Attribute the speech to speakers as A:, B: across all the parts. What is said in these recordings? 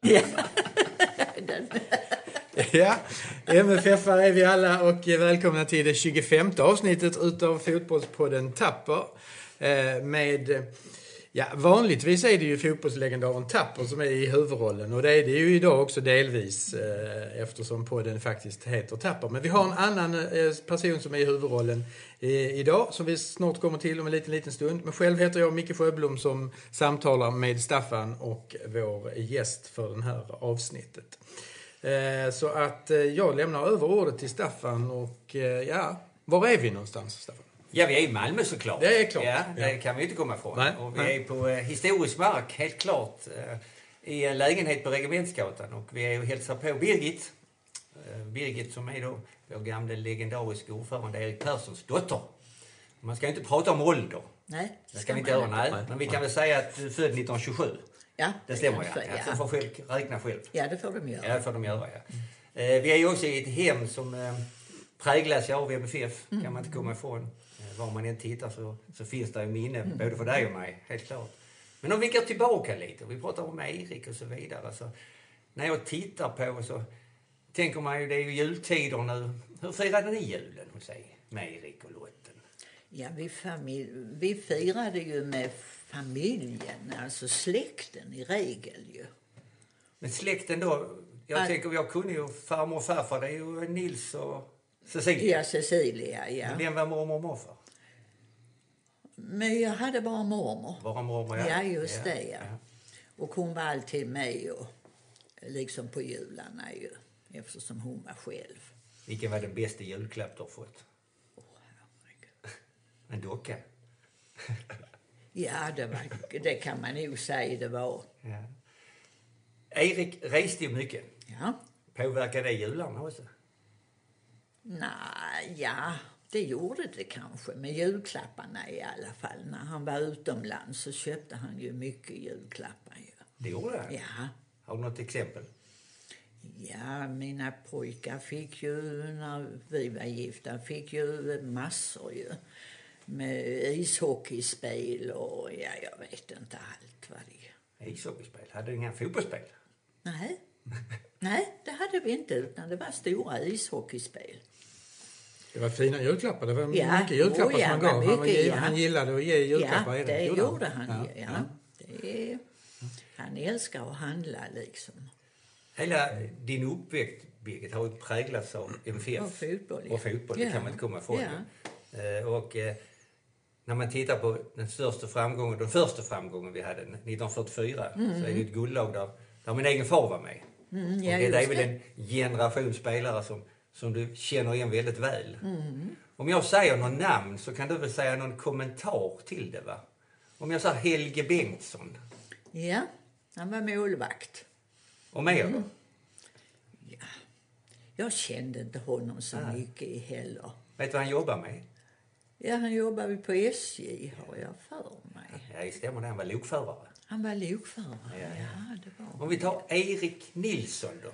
A: Ja, mff är vi alla och välkomna till det 25 avsnittet utav Fotbollspodden Tapper. Eh, Med, ja, vanligtvis är det ju fotbollslegendaren Tapper som är i huvudrollen och det är det ju idag också delvis eh, eftersom podden faktiskt heter Tapper. Men vi har en annan eh, person som är i huvudrollen i- idag som vi snart kommer till om en liten, liten stund. Men själv heter jag Micke Sjöblom som samtalar med Staffan och vår gäst för det här avsnittet. Eh, Så att eh, jag lämnar över ordet till Staffan och eh, ja, var är vi någonstans Staffan?
B: Ja, vi är i Malmö såklart.
A: Det är klart.
B: Ja, det kan vi ju inte komma ifrån.
A: Nej,
B: Och vi
A: nej.
B: är på eh, historisk mark, helt klart. Eh, I en lägenhet på Regementsgatan och vi är och hälsar på Birgit. Eh, Birgit som är då vår gamle legendariska ordförande Erik Perssons dotter. Man ska ju inte prata om ålder.
C: Nej,
B: Det ska vi inte göra, nej. Men vi kan väl säga att du är född 1927.
C: Ja,
B: Det stämmer
C: kan
B: ja.
C: jag
B: ja.
C: säga.
B: Så får själv räkna själv.
C: Ja, det får de göra.
B: Ja, det får de göra. Ja. Eh, Vi är ju också i ett hem som eh, präglas ju av MFF, kan man inte komma ifrån. Eh, Var man än tittar så, så finns det ju minne, både för dig och mig, helt klart. Men om vi går tillbaka lite, vi pratar om Erik och så vidare. Så när jag tittar på så tänker man ju, det är ju jultider nu. Hur firade ni julen hos er med Erik och Lotten?
C: Ja, vi, familj, vi firade ju med familjen, alltså släkten i regel ju.
B: Men släkten då? Jag
C: Ja.
B: tänker, jag kunde ju farmor och farfar, det är ju Nils och Cecilia.
C: Ja, Cecilia, ja.
B: Vem var mormor och morfar?
C: Men jag hade bara mormor.
B: Bara mormor,
C: Ja, just det ja. Och hon var alltid med och, liksom på jularna ju. Eftersom hon var själv.
B: Vilken var den bästa julklapp du har fått?
C: Åh, herregud.
B: En docka?
C: Ja, det, var, det kan man nog säga det var.
B: Ja. Erik reste ju mycket.
C: Ja.
B: Påverkade det jularna också?
C: Nej, ja, det gjorde det kanske. Men julklapparna i alla fall. När han var utomlands så köpte han ju mycket julklappar. Ju.
B: Det gjorde det?
C: Ja.
B: Har du något exempel?
C: ja, mina pojkar fick ju, när vi var gifta, fick ju massor ju. Med ishockeyspel och ja, jag vet inte allt vad det är.
B: Ishockeyspel? Hade du inga fotbollsspel?
C: Nej. Nej, det hade vi inte, utan det var stora ishockeyspel.
A: Det var fina julklappar, det var
C: Ja,
A: mycket julklappar
C: oh ja,
A: som han gav.
C: men
A: han, var,
C: mycket,
A: giv-
C: ja.
A: han gillade att ge julklappar.
C: Ja,
A: Erik,
C: det
A: gjorde han.
C: gjorde han ju. Ja. Det är, han älskar att handla liksom.
B: Hela din uppväxt, Birgit, har ju präglats av MFF.
C: Och fotboll, ja.
B: Och fotboll, det
C: Ja.
B: kan man inte komma ifrån.
C: Ja.
B: Eh, Och eh, när man tittar på den största framgången, den första framgången vi hade 1944, så är det ju ett guldlag där, där min egen far var med.
C: Mm, ja,
B: och det, det är
C: just
B: väl
C: det.
B: en generation spelare som, som du känner igen väldigt väl.
C: Mm.
B: Om jag säger någon namn så kan du väl säga någon kommentar till det va? Om jag säger Helge Bengtsson,
C: Ja, han var målvakt.
B: och mer
C: Mm.
B: då?
C: Jag kände inte honom så mycket heller.
B: Vet du vad han jobbar med?
C: Ja, han jobbade på SJ, har jag för mig.
B: Ja, det stämmer det. Han var lokförare.
C: Han var lokförare.
B: Ja,
C: Ja,
B: ja.
C: det var
B: Om vi tar Erik Nilsson då.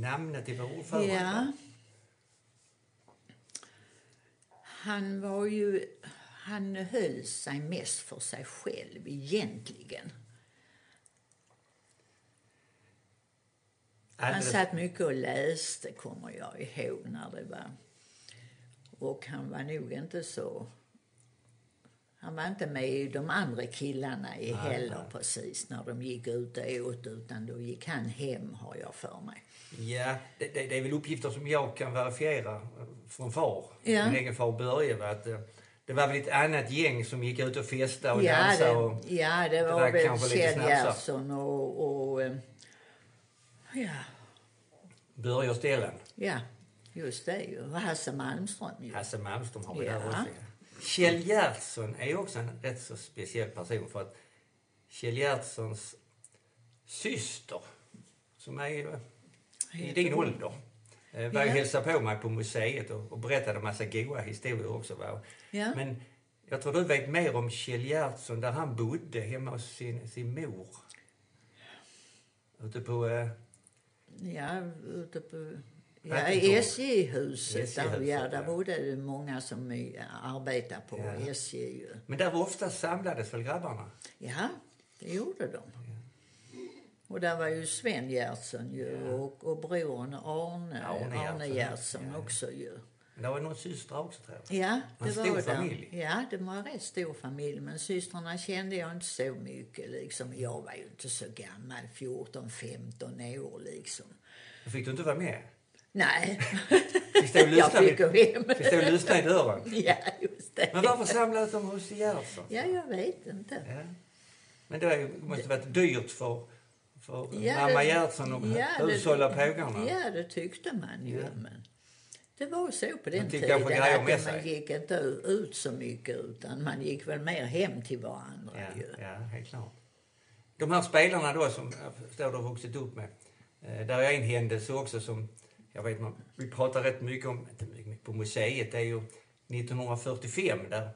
B: Namnet till vår ordförande.
C: Ja. Han var ju... Han höll sig mest för sig själv egentligen. Han
B: Alldeles-
C: satt mycket och läste, kommer jag ihåg, när det var... Och han var nog inte så... Han var inte med i de andra killarna i heller precis när de gick ut och åt utan då gick han hem, har jag för mig.
B: Ja, det, det, det är väl uppgifter som jag kan verifiera eh, från far.
C: Ja.
B: Min egen far Börje. va, Att, eh, det var väl ett annat gäng som gick ut och festade och
C: ja,
B: dansade.
C: det,
B: Och,
C: ja, det var
B: drack
C: väl
B: kanske lite
C: Kjell
B: snapsar.
C: Gerson och... och eh, ja,
B: Börje och Stellan.
C: ja, just det ju. Och Hasse Malmström ju.
B: Hasse Malmström har vi
C: Ja.
B: där också. ja. Kjell Gertsson är ju också en rätt så speciell person för att Kjell Gertssons syster, som är ju i din ålder, eh, var ju
C: Ja.
B: hälsade på mig på museet och, och berättade en massa goa historier också. Va?
C: Ja.
B: Men jag tror du vet mer om Kjell Gertsson där han bodde hemma hos sin, sin mor. Ute på... Eh,
C: Ja, ute på... Ja,
B: Vattentorp.
C: SJ-huset. Där,
B: SJ-huset,
C: ja, där
B: ja.
C: bodde det många som eh, arbetar på
B: Ja.
C: SJ. ju.
B: men där var ofta samlades väl grabbarna?
C: Ja, det gjorde de. Och där var ju Sven Gertsson ju och, och brodern Arne,
B: Ja, Arne
C: Arne
B: Gertsson,
C: Gertsson
B: ja.
C: också ju.
B: Men det var ju några systrar också tror jag.
C: Ja, det
B: En
C: var
B: stor
C: det.
B: familj.
C: Ja, det var en rätt stor familj. Men systrarna kände jag inte så mycket. Liksom. Jag var ju inte så gammal, 14-15 år liksom.
B: Då fick du inte vara med.
C: Nej,
B: Vi stod och
C: jag
B: lyssnade,
C: fick gå
B: vid-
C: hem.
B: vi stod och lyssnade i dörren.
C: Ja, just det.
B: Men varför samlades de hos Gerhardsson?
C: Ja, jag vet inte.
B: Ja. Men det var ju- måste varit dyrt för, för
C: Ja,
B: mamma
C: det-
B: Gerhardsson och
C: ja, det-
B: hushålla pågarna.
C: Ja, det tyckte man ju.
B: Ja.
C: Men det var så på den
B: fick
C: tiden
B: kanske grejer med
C: att man
B: sig.
C: gick inte u- ut så mycket utan man gick väl mer hem till varandra
B: Ja,
C: ju.
B: ja, helt klart. De här spelarna då som jag förstår du har vuxit upp med. eh, Där är en händelse också som jag vet man, vi pratar rätt mycket om, inte mycket, mycket på museet, det är ju 1945 där,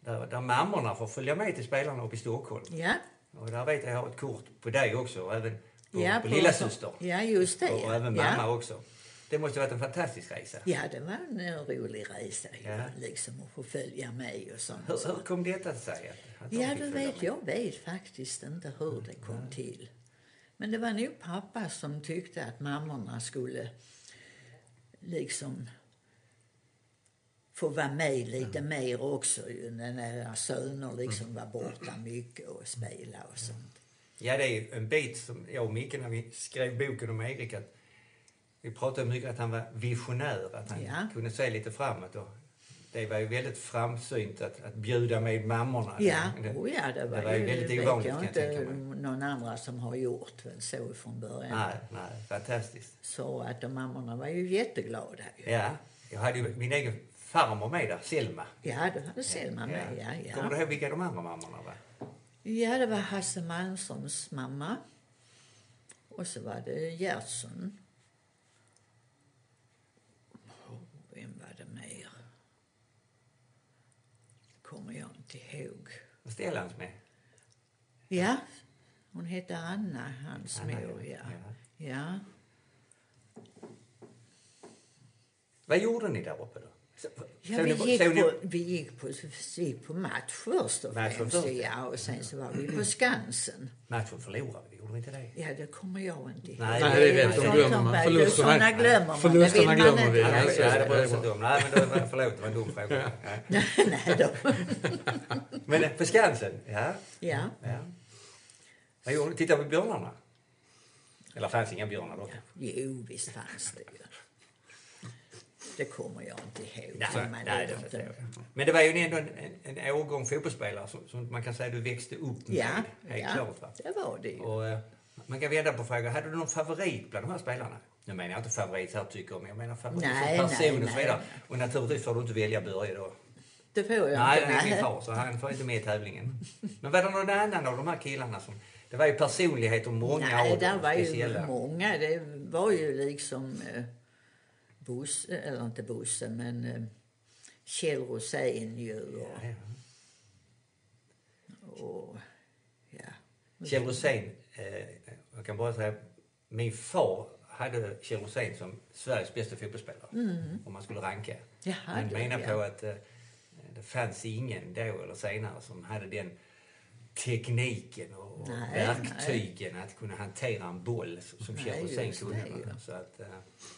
B: där, där mammorna får följa med till spelarna uppe i Stockholm.
C: Ja,
B: Och där vet jag, jag har ett kort på dig också och även på,
C: ja,
B: på lilla syster
C: Ja, just det.
B: och, och även
C: ja.
B: mamma också. Det måste ha varit en fantastisk resa.
C: Ja, det var en eh, rolig resa ju,
B: Ja.
C: liksom att få följa med och sånt.
B: Hur, hur kom detta sig? Att, att de
C: Ja,
B: fick
C: du
B: följa
C: vet,
B: med?
C: jag vet faktiskt inte hur det kom till. Men det var nog pappa som tyckte att mammorna skulle liksom få vara med lite
B: Mm.
C: mer också ju när deras söner liksom var borta mycket och spela
B: Mm.
C: och sånt.
B: Ja, det är ju en bit som jag och Micke när vi skrev boken om Erik att vi pratade mycket att han var visionär, att han
C: Ja.
B: kunde se lite framåt. Och det var ju väldigt framsynt att, att bjuda med mammorna.
C: Ja,
B: Det-
C: oh ja det var,
B: det var ju väldigt
C: vet
B: ovanligt
C: jag
B: kan jag
C: inte
B: tänka mig.
C: någon andra som har gjort väl så från början.
B: Nej, nej, fantastiskt.
C: Så att de mammorna var ju jätteglada ju.
B: Ja, jag hade ju min egen farmor med där, Selma.
C: Ja, det hade Selma med, ja. ja.
B: Kommer du ihåg vilka de andra mammorna var?
C: Ja, det var Hasse Malmströms mamma. Och så var det Gerson. Vem var det mer? Kommer jag inte ihåg.
B: Var Stellans med?
C: Ja, hon hette Anna, hans mor. Ja. Ja.
B: Vad gjorde ni där uppe då? Så-
C: Ja,
B: såg
C: vi,
B: ni-
C: gick
B: såg ni-
C: på, vi gick på, gick på match först och
B: Match
C: främst.
B: först, Mm.
C: Ja, och sen så var vi på Skansen.
B: Matchen förlorade vi, gjorde vi inte det?
C: Ja, det kommer jag inte ihåg.
B: Nej, det är rätt, de
C: Sånt
A: glömmer
C: som-
A: man.
C: det-
A: Förlusterna-
C: såna glömmer man.
A: Förlusterna
C: det vill man
A: glömmer vi.
B: Ja,
C: inte.
A: Ja,
B: det
A: så-
B: ja, det var
A: det
B: ju så
A: var-
B: dumt. Nej, men då, förlåt, det var en dum fråga. Ja.
C: Nej då.
B: Men eh, på Skansen, ja.
C: Ja.
B: ja. Vad gjorde ni? Tittade på björnarna? Eller fanns inga björnar då?
C: Jo, visst fanns det ju. Det kommer jag inte ihåg.
B: Nej,
C: för man
B: nej,
C: vet
B: det
C: inte.
B: förstår jag. Men det var ju ändå en, en, en årgång fotbollsspelare som, som man kan säga du växte upp med.
C: Ja,
B: helt
C: ja
B: klart. Va?
C: det var det ju.
B: Och, eh, man kan vända på frågan. Hade du någon favorit bland de här spelarna? Nu menar jag inte favorit så här tycker jag, men jag menar favorit
C: Nej,
B: som person
C: nej,
B: och så vidare.
C: nej.
B: Och naturligtvis får du inte välja Börje då.
C: Det får jag
B: Nej,
C: inte.
B: det är min far, så han får inte med i tävlingen. Men var det någon annan av de här killarna som... Det var ju personligheter, många
C: Nej,
B: av
C: där
B: dem
C: var ju
B: speciella.
C: många. Det var ju liksom eh, Bosse, eller inte Bosse, men eh, Kjell Rosén ju
B: Ja, ja.
C: och, och ja.
B: Kjell Rosén, eh, jag kan bara säga, min far hade Kjell Rosén som Sveriges bästa fotbollsspelare. Om man skulle ranka.
C: Mm. Jaha,
B: Men
C: du,
B: menar
C: ja.
B: på att eh, det fanns ingen då eller senare som hade den tekniken och och
C: Nej,
B: verktygen att kunna hantera en boll som som
C: Nej,
B: Kjell Rosén
C: just
B: kunde.
C: det,
B: va.
C: ja.
B: Så att, eh,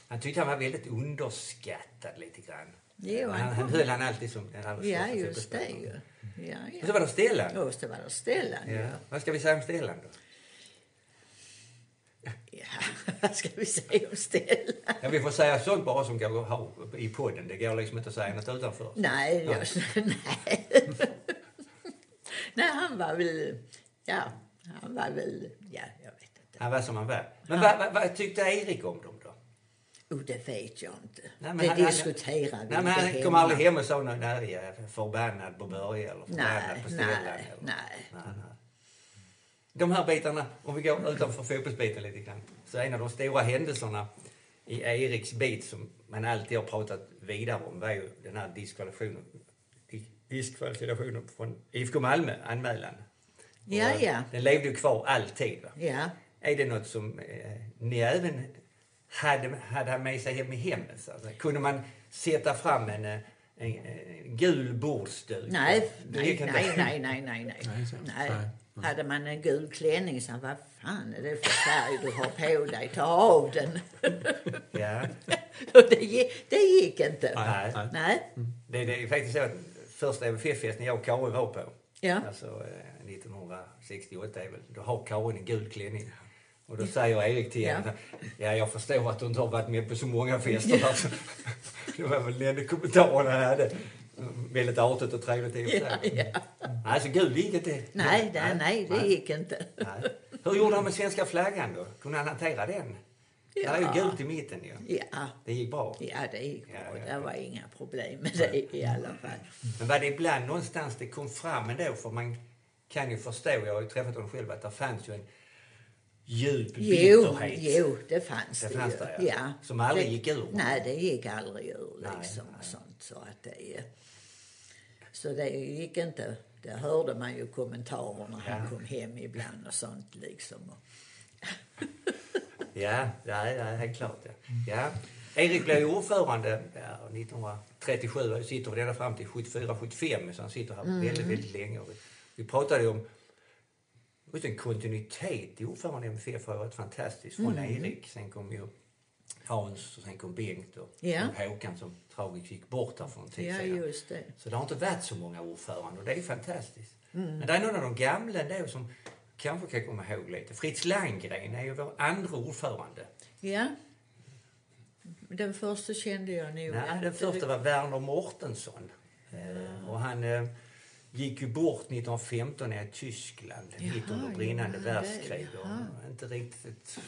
B: han tyckte han var väldigt underskattad lite grann. Eh,
C: Jo,
B: han,
C: han-
B: han höll han alltid som den allra
C: ja,
B: största
C: just det
B: fotbollsspelaren.
C: ju. Oh, Ja,
B: Och så var
C: ja.
B: det Stellan.
C: Och så var det Stellan
B: Ja.
C: ju.
B: Vad ska vi säga om Stellan då?
C: Ja, vad ska vi säga om Stellan?
B: Ja, vi får säga sånt bara som går att ha i podden. Det går liksom inte att säga något utanför.
C: Nej,
B: Ja.
C: jag, nej. nej, han var väl... Ja, han var väl... Ja, jag vet inte.
B: Han var som han var. Men vad, vad, vad tyckte Erik om dem då?
C: Oh, det vet jag inte.
B: Nej, men
C: det
B: han- han-
C: diskuterar vi
B: Nej, men han
C: inte
B: kom aldrig hem och sa något, nej, jag är förbannad på Börje eller förbannad
C: Nej,
B: på Stellan.
C: nej,
B: eller-
C: nej.
B: Nej, nej. De här bitarna, om vi går utanför fotbollsbiten lite grann. Så en av de stora händelserna i Eriks bit som man alltid har pratat vidare om var ju den här diskvalifikationen, di- diskvalifikationen från IFK Malmö, anmälan.
C: Ja,
B: Och, eh,
C: ja.
B: Den levde ju kvar alltid. Va?
C: Ja,
B: Är det något som eh, ni även hade, hade han med sig hem i hemmet? så att säga? Kunde man sätta fram en, eh, en, en gul bordsduk?
C: nej,
B: Det
C: nej,
B: gick inte.
C: nej, nej, nej, nej, nej.
A: Nej, så- nej.
C: Hade man en gul klänning så han, vad fan är det för färg du har på dig? Ta av den.
B: Ja.
C: Och det, gi- det gick inte.
B: Nej.
C: Nej.
B: Det, det är faktiskt så att första MFF-festen jag och Karin var på,
C: Ja.
B: alltså eh, 1968 är väl, då har Karin en gul klänning. Och då säger Erik till henne, ja jag förstår att du inte har varit med på så många fester. Alltså. Det var väl den enda kommentaren han hade. Väldigt artigt och trevligt i och för
C: Ja,
B: sig.
C: ja.
B: Alltså gud, gick inte.
C: Nej, det, nej, det gick inte.
B: Nej. Hur gjorde han med svenska flaggan då? Kunde han hantera den? Ja. Det är ju
C: Ja.
B: gult i mitten ju.
C: Ja,
B: Det gick bra.
C: ja det gick bra.
B: Ja, ja.
C: Det var inga problem med det i alla fall.
B: Men var det ibland någonstans det kom fram ändå? För man kan ju förstå, jag har ju träffat honom själv, att det fanns ju en djup
C: Jo,
B: bitterhet.
C: jo, det fanns
B: Det
C: det,
B: fanns
C: ju.
B: det, ja.
C: ja.
B: Som aldrig
C: det,
B: gick ur.
C: Nej, det gick aldrig ur
B: Nej,
C: liksom. och
B: nej.
C: Sånt, så att det, eh, så det gick inte. Det hörde man ju kommentarer när han
B: Ja.
C: kom hem ibland och sånt liksom. Och,
B: Ja, ja, ja, helt klart. Ja. Ja. Erik blev ju ordförande ja, 1937 och sitter väl ända fram till 74-75 så han sitter här
C: Mm.
B: väldigt, väldigt länge. Och vi- vi pratade ju om just en kontinuitet i ordförande i MFF har varit fantastiskt. Från
C: Mm.
B: Erik, sen kom ju Hans och sen kom Bengt och,
C: Ja.
B: och Håkan som tragiskt gick bort här för en tid
C: ja,
B: sedan.
C: just det.
B: Så det har inte varit så många ordförande och det är ju fantastiskt.
C: Mm.
B: Men det är någon av de gamla då som kanske kan komma ihåg lite. Fritz Landgren är ju vår andra ordförande.
C: Ja. Den första kände jag nog
B: Nej, den
C: inte
B: första var Werner Mortensson. Eh, Och han eh, gick ju bort 1915 i Tyskland, mitt under brinnande
C: ja,
B: världskrig.
C: det-
B: Och
C: jaha.
B: inte riktigt ett,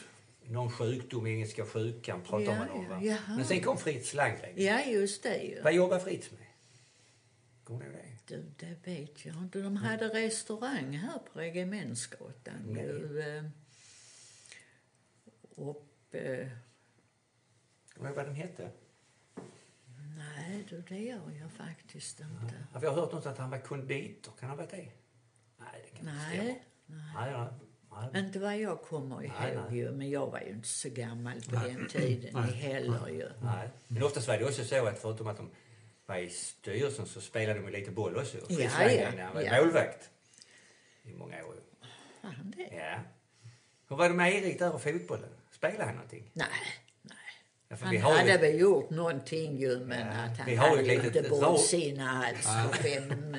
B: någon sjukdom, engelska sjukan pratar
C: Ja,
B: man om. Va?
C: ja, jaha.
B: Men sen kom Fritz Landgren.
C: Ja, just det ju.
B: Vad jobbar Fritz med? Kommer du ihåg det?
C: Du, det vet jag inte. De hade restaurang här på Regementsgatan.
B: Nej.
C: ju, eh, Och, eh,
B: Kommer du ihåg vad den hette?
C: nej, du, det gör jag faktiskt inte.
B: Ja, vi Mm. har hört något att han var konditor. Kan han ha varit det? Nej, det kan inte stämma.
C: Nej,
B: Nej, nej, nej.
C: inte vad jag kommer
B: Nej,
C: ihåg
B: nej.
C: ju. Men jag var ju inte så gammal på den tiden heller ju.
B: nej. Men oftast var det också så att förutom att de var i styrelsen så spelade de ju lite boll också. Fritz
C: Ja,
B: Langen,
C: ja,
B: Han var
C: ja.
B: målvakt i många år.
C: Var han det?
B: Ja. Hur var det med Erik där och fotbollen? Spelade han någonting?
C: Nej, nej.
B: Ja, för
C: Han
B: vi har
C: hade
B: ju,
C: väl gjort någonting ju, men
B: Ja,
C: att han
B: vi har ju
C: hade ju
B: ett litet
C: inte
B: drag.
C: bollsinne alls. och Vem,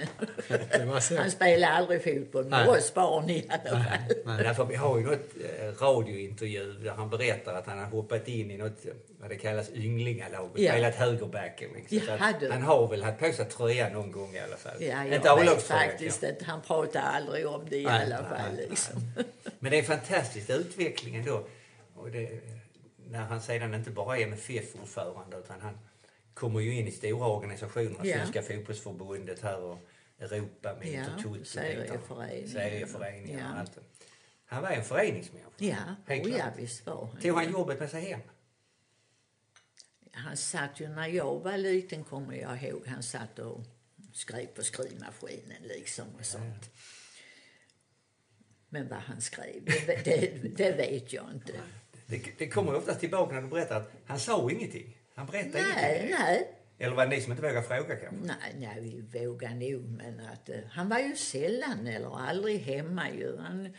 A: Det var så.
C: han spelade aldrig fotboll med
A: Nej.
C: oss barn i alla fall.
B: men därför vi har ju något eh, radiointervju där han berättar att han har hoppat in i något, eh, vad det kallas, ynglingalag och
C: Ja.
B: spelat högerbacken. Liksom. Så
C: Jaha,
B: att
C: du.
B: han har väl haft på sig tröjan någon gång i alla fall.
C: Ja, jag
B: Inte
C: vet
B: A-lagströjan,
C: faktiskt inte. Han pratar aldrig om det i
B: Nej,
C: alla
B: nej,
C: fall.
B: nej.
C: Liksom.
B: Men det är en fantastisk utveckling ändå. Och det, när han sedan inte bara är MFF-ordförande utan han kommer ju in i stora organisationer.
C: Ja.
B: Svenska fotbollsförbundet här och Europa med
C: Ja,
B: Intertoto.
C: serieföreningar.
B: Serieföreningar och
C: Ja.
B: allt det. Han var en föreningsmänniska.
C: Ja,
B: Helt
C: oh, ja,
B: klart.
C: visst var han
B: Tog han
C: det.
B: jobbet med sig hem?
C: Han satt ju, när jag var liten kommer jag ihåg, han satt och skrev på skrivmaskinen liksom och sånt. Men vad han skrev, det, det, det vet jag inte.
B: Det, det kommer ju oftast tillbaka när du berättar att han sa ingenting. Han berättade
C: Nej,
B: ingenting.
C: nej.
B: Eller var det ni som inte vågade fråga kanske?
C: Nej, nej, vi vågar nog, men att eh, han var ju sällan eller aldrig hemma ju. Han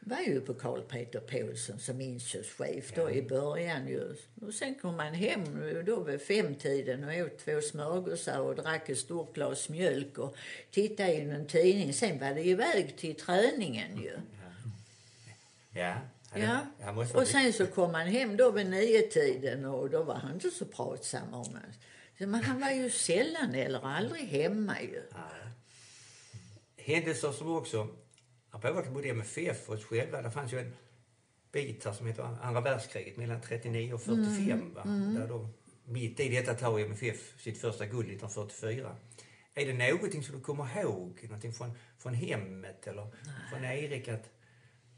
C: var ju på Karl Peter Paulsson som inköpschef då i början ju. Och sen kom han hem eh, då vid femtiden och åt två smörgåsar och drack ett stort glas mjölk och tittade i någon tidning. Sen var det iväg till träningen ju.
B: Ja. Han,
C: Mm, Ja.
B: han måste
C: Och sen så kom han hem då vid niotiden och då var han inte så pratsam om det. Men han var ju sällan eller aldrig hemma ju.
B: Händelser som också har påverkat både MFF och oss själva. Det fanns ju en bit här som heter andra världskriget mellan 39 och 45.
C: Mm,
B: Va? Där då, mitt i detta tar MFF sitt första guld 1944. Är det någonting som du kommer ihåg? Någonting från, från hemmet eller från Erik? Att,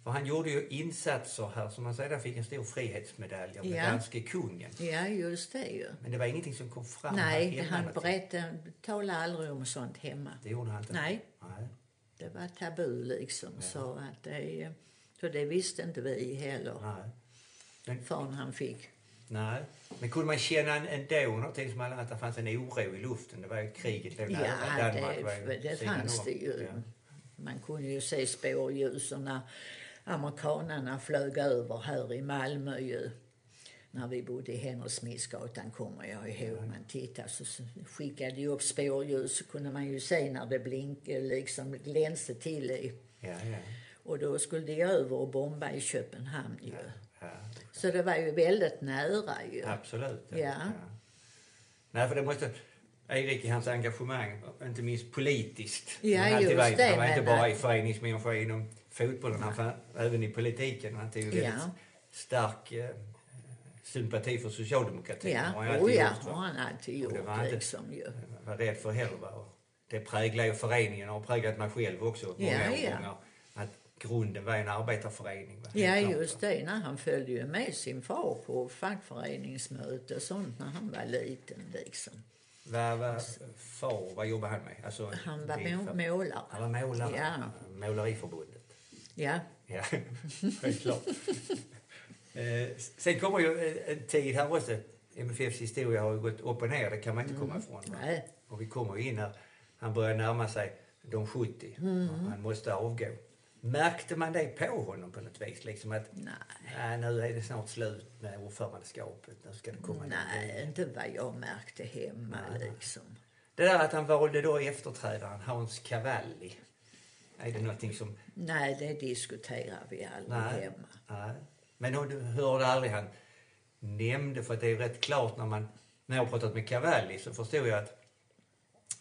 B: för han gjorde ju insatser här som han sedan fick en stor frihetsmedalj av den
C: Ja.
B: danske kungen.
C: Ja, just det ju.
B: Men det var ingenting som kom fram här
C: Nej,
B: hemma,
C: han
B: någonting.
C: berättade, talade aldrig om sånt hemma.
B: Det gjorde han inte?
C: Nej.
B: Nej.
C: Det var tabu liksom. Så, att det, så det visste inte vi heller
B: Nej. Men
C: förrän han fick.
B: Nej. Men kunde man känna en- ändå någonting som alla- att det fanns en oro i luften? Det var ju kriget låg
C: Ja,
B: nära. Danmark var ju
C: det, det
B: sidan
C: fanns
B: om.
C: det ju.
B: Ja.
C: Man kunde ju se spårljusen när amerikanarna flög över här i Malmö ju. När vi bodde i Hennesmidsgatan kommer jag ihåg. Man tittade så så skickade ju upp spårljus så kunde man ju se när det blinkade, liksom glänste till i.
B: Ja, ja.
C: Och då skulle de över och bomba i Köpenhamn ju.
B: ja.
C: Så det var ju väldigt nära ju.
B: Absolut.
C: Ja.
B: Nej, för det måste... Erik i hans engagemang, inte minst politiskt.
C: Ja,
B: han alltid
C: just
B: var,
C: det,
B: Han var inte
C: men-
B: bara i föreningsmänniska inom fotbollen, han fann, även i politiken. Han hade ju väldigt
C: Ja.
B: stark eh, sympati för socialdemokratin.
C: Ja,
B: har han
C: oh,
B: alltid
C: ja,
B: gjort, va?
C: har han alltid
B: Och det
C: gjort
B: var inte-
C: liksom ju.
B: var rädd för heller. Va? Och det präglar ju föreningen och har präglat mig själv också många
C: Ja, ja.
B: årgångar. Att grunden var en arbetarförening. Va?
C: Ja,
B: Helt klart,
C: just
B: va?
C: det. När han följde ju med sin far på fackföreningsmöte och sånt när han var liten. Liksom.
B: Vad var far, vad jobbade han med? Alltså,
C: Han var
B: din
C: må-
B: far-
C: målare.
B: Han var målare.
C: Ja.
B: Måleriförbundet.
C: Ja,
B: Ja, helt klart. Eh, sen kommer ju en- en tid här också. MFFs historia har ju gått upp och ner, det kan man inte komma ifrån. va?
C: Mm. nej.
B: Och vi kommer ju in när han börjar närma sig de 70.
C: Mm.
B: Han måste avgå. Märkte man det på honom på något vis? Liksom att
C: Nej.
B: "Nej, nu är det snart slut med ordförandeskapet. Nu ska det komma någon
C: Nej,
B: ny."
C: inte vad jag märkte hemma liksom.
B: Det där att han valde då efterträdaren Hans Cavalli. Är det någonting som...
C: Nej, det diskuterar vi aldrig
B: Nej.
C: hemma.
B: Nej. Men hon hörde aldrig han nämnde, för att det är rätt klart när man... När jag har pratat med Cavalli så förstod jag att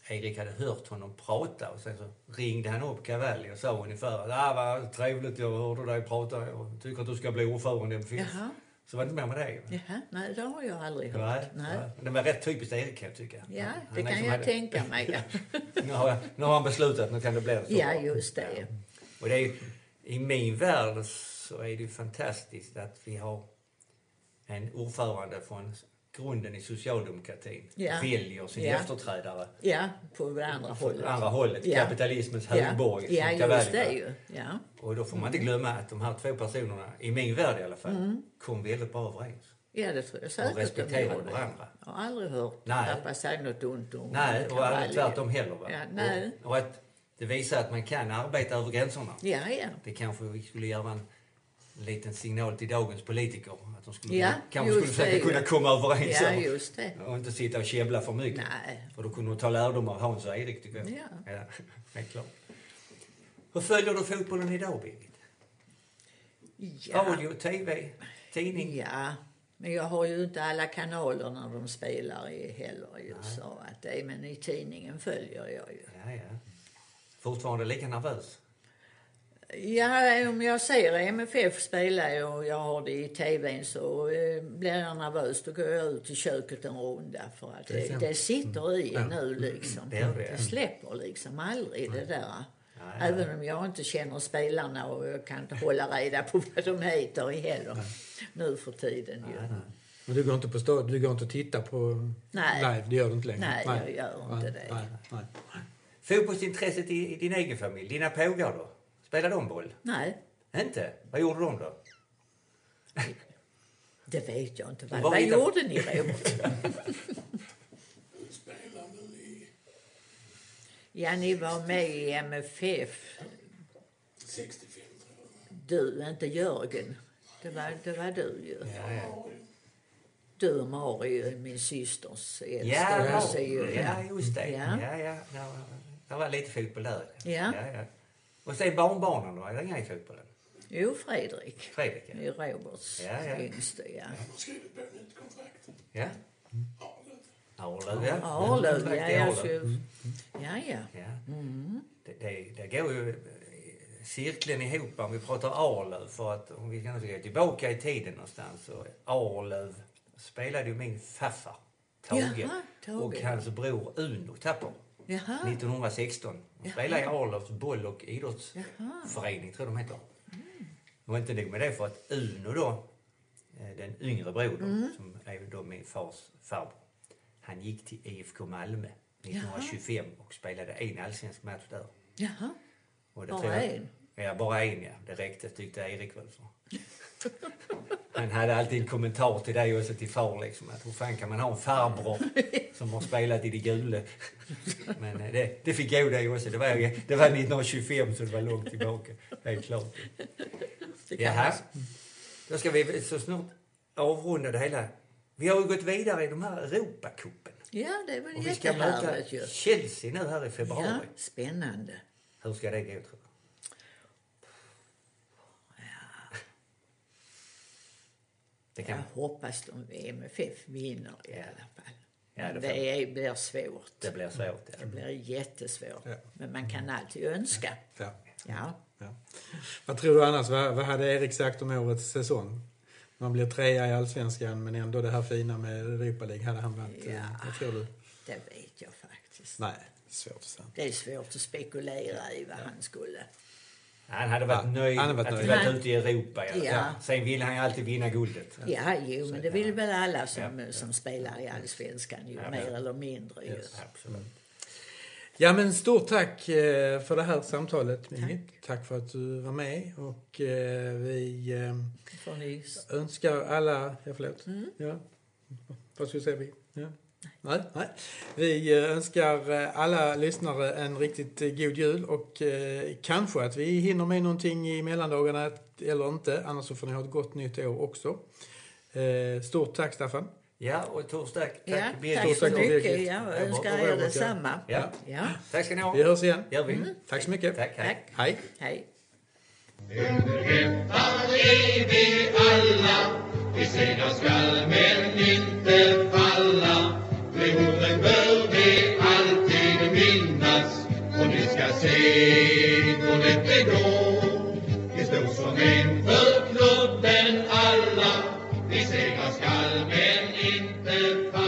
B: Erik hade hört honom prata och sen så ringde han upp Cavalli och sa ungefär att ah, vad trevligt, jag hörde dig prata och tycker att du ska bli ordförande i MFF.
C: Jaha.
B: Så var det inte mer med det.
C: Jaha, nej, det har jag aldrig hört.
B: Nej,
C: Nej.
B: nej. Det var rätt typiskt Erik kan jag tycka.
C: Ja,
B: Han- han
C: det
B: liksom
C: kan jag
B: hade-
C: tänka mig. ja.
B: nu, har jag, nu har han beslutat, nu kan det bli så.
C: Ja,
B: bra.
C: just det.
B: Ja. Och det är, ju- I min värld så är det ju fantastiskt att vi har en ordförande från grunden i socialdemokratin
C: Ja.
B: väljer sin
C: Ja.
B: efterträdare
C: ja, på det andra
B: från
C: hållet.
B: andra hållet,
C: Ja.
B: kapitalismens
C: Ja,
B: högborg.
C: ja
B: som
C: just
B: Cavalli var.
C: det ju. Mm. Ja.
B: Och då får man inte glömma att de här två personerna, i min värld i alla fall,
C: Mm.
B: kom väldigt bra överens.
C: ja, det tror jag säkert.
B: Och
C: de
B: respekterade
C: gjorde.
B: varandra.
C: Jag har aldrig hört
B: Nej.
C: pappa säga något ont om
B: Nej, och aldrig
C: Cavalli.
B: tvärtom heller. Va?
C: Ja, nej.
B: Och, och att det visar att man kan arbeta över gränserna.
C: Ja, ja.
B: Det kanske vi skulle göra en liten signal till dagens politiker. Att de skulle,
C: Ja,
B: kanske skulle
C: just
B: försöka
C: det,
B: kunna
C: ja.
B: komma överens.
C: Ja,
B: om-
C: just det.
B: Och inte sitta och käbbla för mycket.
C: Nej.
B: För då kunde de ta lärdom av Hans och Erik tycker jag.
C: Ja.
B: helt klart. Hur följer du fotbollen idag Birgit?
C: Ja.
B: Radio, TV, tidning?
C: ja, men jag har ju inte alla kanaler när de spelar i heller ju. Så att det, men i tidningen följer jag ju.
B: Ja, ja. Fortfarande lika nervös?
C: Ja, om jag ser MFF spela och jag har det i tvn så eh, blir jag nervös. Då går jag ut i köket en runda för att
B: Till
C: det,
B: exempel.
C: det sitter i en nu liksom.
B: Det gör det, ja.
C: Det släpper liksom aldrig det där.
B: Nej,
C: Även om jag inte känner spelarna och jag kan inte hålla reda på vad de heter heller nu för tiden ju.
A: Men du går inte på stå, du går inte och tittar på
C: Nej.
A: live? Det gör du inte längre?
C: Nej, jag gör inte det.
A: Nej, nej.
B: Fotbollsintresset i, i din egen familj, dina pågar då? Spelar de boll?
C: Nej,
B: Inte? Vad gjorde de då?
C: det vet jag inte. Vad,
B: Var
C: vad
B: hittar-
C: gjorde ni Robert?
D: spelar nu i
C: Ja, ni var med i MFF.
D: 65 tror jag.
C: Du, inte Jörgen. Det var, det var du ju.
B: Ja, ja.
C: Du och Mario, min systers
B: Ja,
C: äldsta. också ju.
B: ja, just det.
C: Ja.
B: Ja, ja. Det var, det var lite fotboll där.
C: Ja.
B: Ja, ja. Och sen barnbarnen då? Är det inga i fotbollen?
C: Jo, Fredrik.
B: Fredrik, ja.
C: Det är Roberts
B: Ja, ja.
C: yngste, ja.
D: Han har skrivit på nytt kontrakt.
B: Ja.
D: Arlöv.
B: Arlöv, ja.
C: Arlöv, ja. Mm.
B: Kontrakt i
C: Jag
B: Arlöv.
C: skulle...
B: Mm-hmm.
C: Ja, ja.
B: Ja. Det, det, det går ju eh, cirkeln ihop om vi pratar Arlöv. För att om vi kan gå tillbaka i tiden någonstans så Arlöv spelade ju min farfar Tage
C: Jaha, Tage.
B: och hans bror Uno Tapper.
C: Jaha.
B: 1916. De spelade i Arlövs boll och idrottsförening, tror jag de heter. Det var inte nog med det, för att Uno då, eh, den yngre brodern, som är då min fars farbror, han gick till IFK Malmö 1925 och spelade en allsvensk match där.
C: Jaha.
B: Och det
C: Bara
B: tror jag-
C: en?
B: Ja, bara en ja. Det räckte tyckte Erik väl så. Han hade alltid en kommentar till dig också till far liksom. Att hur fan kan man ha en farbror som har spelat i det gula? Men eh, det, det fick jag dig också. Det var, det var 1925 så det var långt tillbaka. Helt klart.
C: Det kan
B: Jaha.
C: vara-
B: Då ska vi så snart avrunda det hela. Vi har ju gått vidare i de här Europacupen.
C: Ja, det är väl
B: Och vi ska möta
C: jättehärligt ju.
B: Chelsea nu här i februari.
C: Ja, spännande.
B: Hur ska det gå tror du? Det
C: Jag
B: kan...
C: hoppas de MFF vinner i alla fall.
B: Ja, det
C: Men
B: får-
C: det är, blir svårt.
B: Det blir svårt. Ja.
C: Det blir jättesvårt.
A: Ja.
C: Men man kan alltid önska.
A: Ja,
C: Ja.
A: ja. Vad tror du annars? Vad, vad hade Erik sagt om årets säsong? Man blir trea i allsvenskan men ändå det här fina med Europa League hade han varit. eh,
C: Ja.
A: Vad tror du?
C: Det vet jag faktiskt.
A: Nej, svårt att säga.
C: Det är svårt att spekulera i vad han skulle...
B: Han hade varit
A: Ja,
B: nöjd
A: han hade varit
B: att vi
A: nöjd.
B: varit ute i Europa. Ja.
C: Ja.
B: Sen vill han ju alltid vinna guldet.
C: Ja, jo, men det vill väl alla som, som spelar i Allsvenskan, ju, mer eller mindre. Ju.
B: Absolut.
A: Mm. Ja, men stort tack eh, för det här samtalet, Mimmi. Tack för att du var med. Och eh, vi eh,
C: Får ni...
A: önskar alla... Ja, förlåt. Ja. Vad skulle jag säga? vi? Ja. Mm. Nej. Nej. Vi eh, önskar eh, alla lyssnare en riktigt eh, god jul och eh, kanske att vi hinner med någonting i mellandagarna eller inte. Annars så får ni ha ett gott nytt år också. Eh, Stort tack, Staffan.
B: Ja, och Torsdag. Tack
C: Ja,
B: Birgit.
C: tack så
A: Stort tack,
C: mycket.
A: Birgit.
C: Jag
B: Ja,
C: önskar
B: och
C: er
A: Robert, ja.
C: detsamma.
B: Ja.
C: Ja,
B: Tack ska ni
A: Vi
B: ha.
A: hörs igen.
B: Gör vi.
A: Tack så mycket.
B: Tack, hej.
C: Mm. tack.
A: Hej.
C: Hej.
E: Religionen bör vi alltid minnas och ni ska se hur lätt det går. Vi står som en för klubben alla, vi segrar skall men inte falla.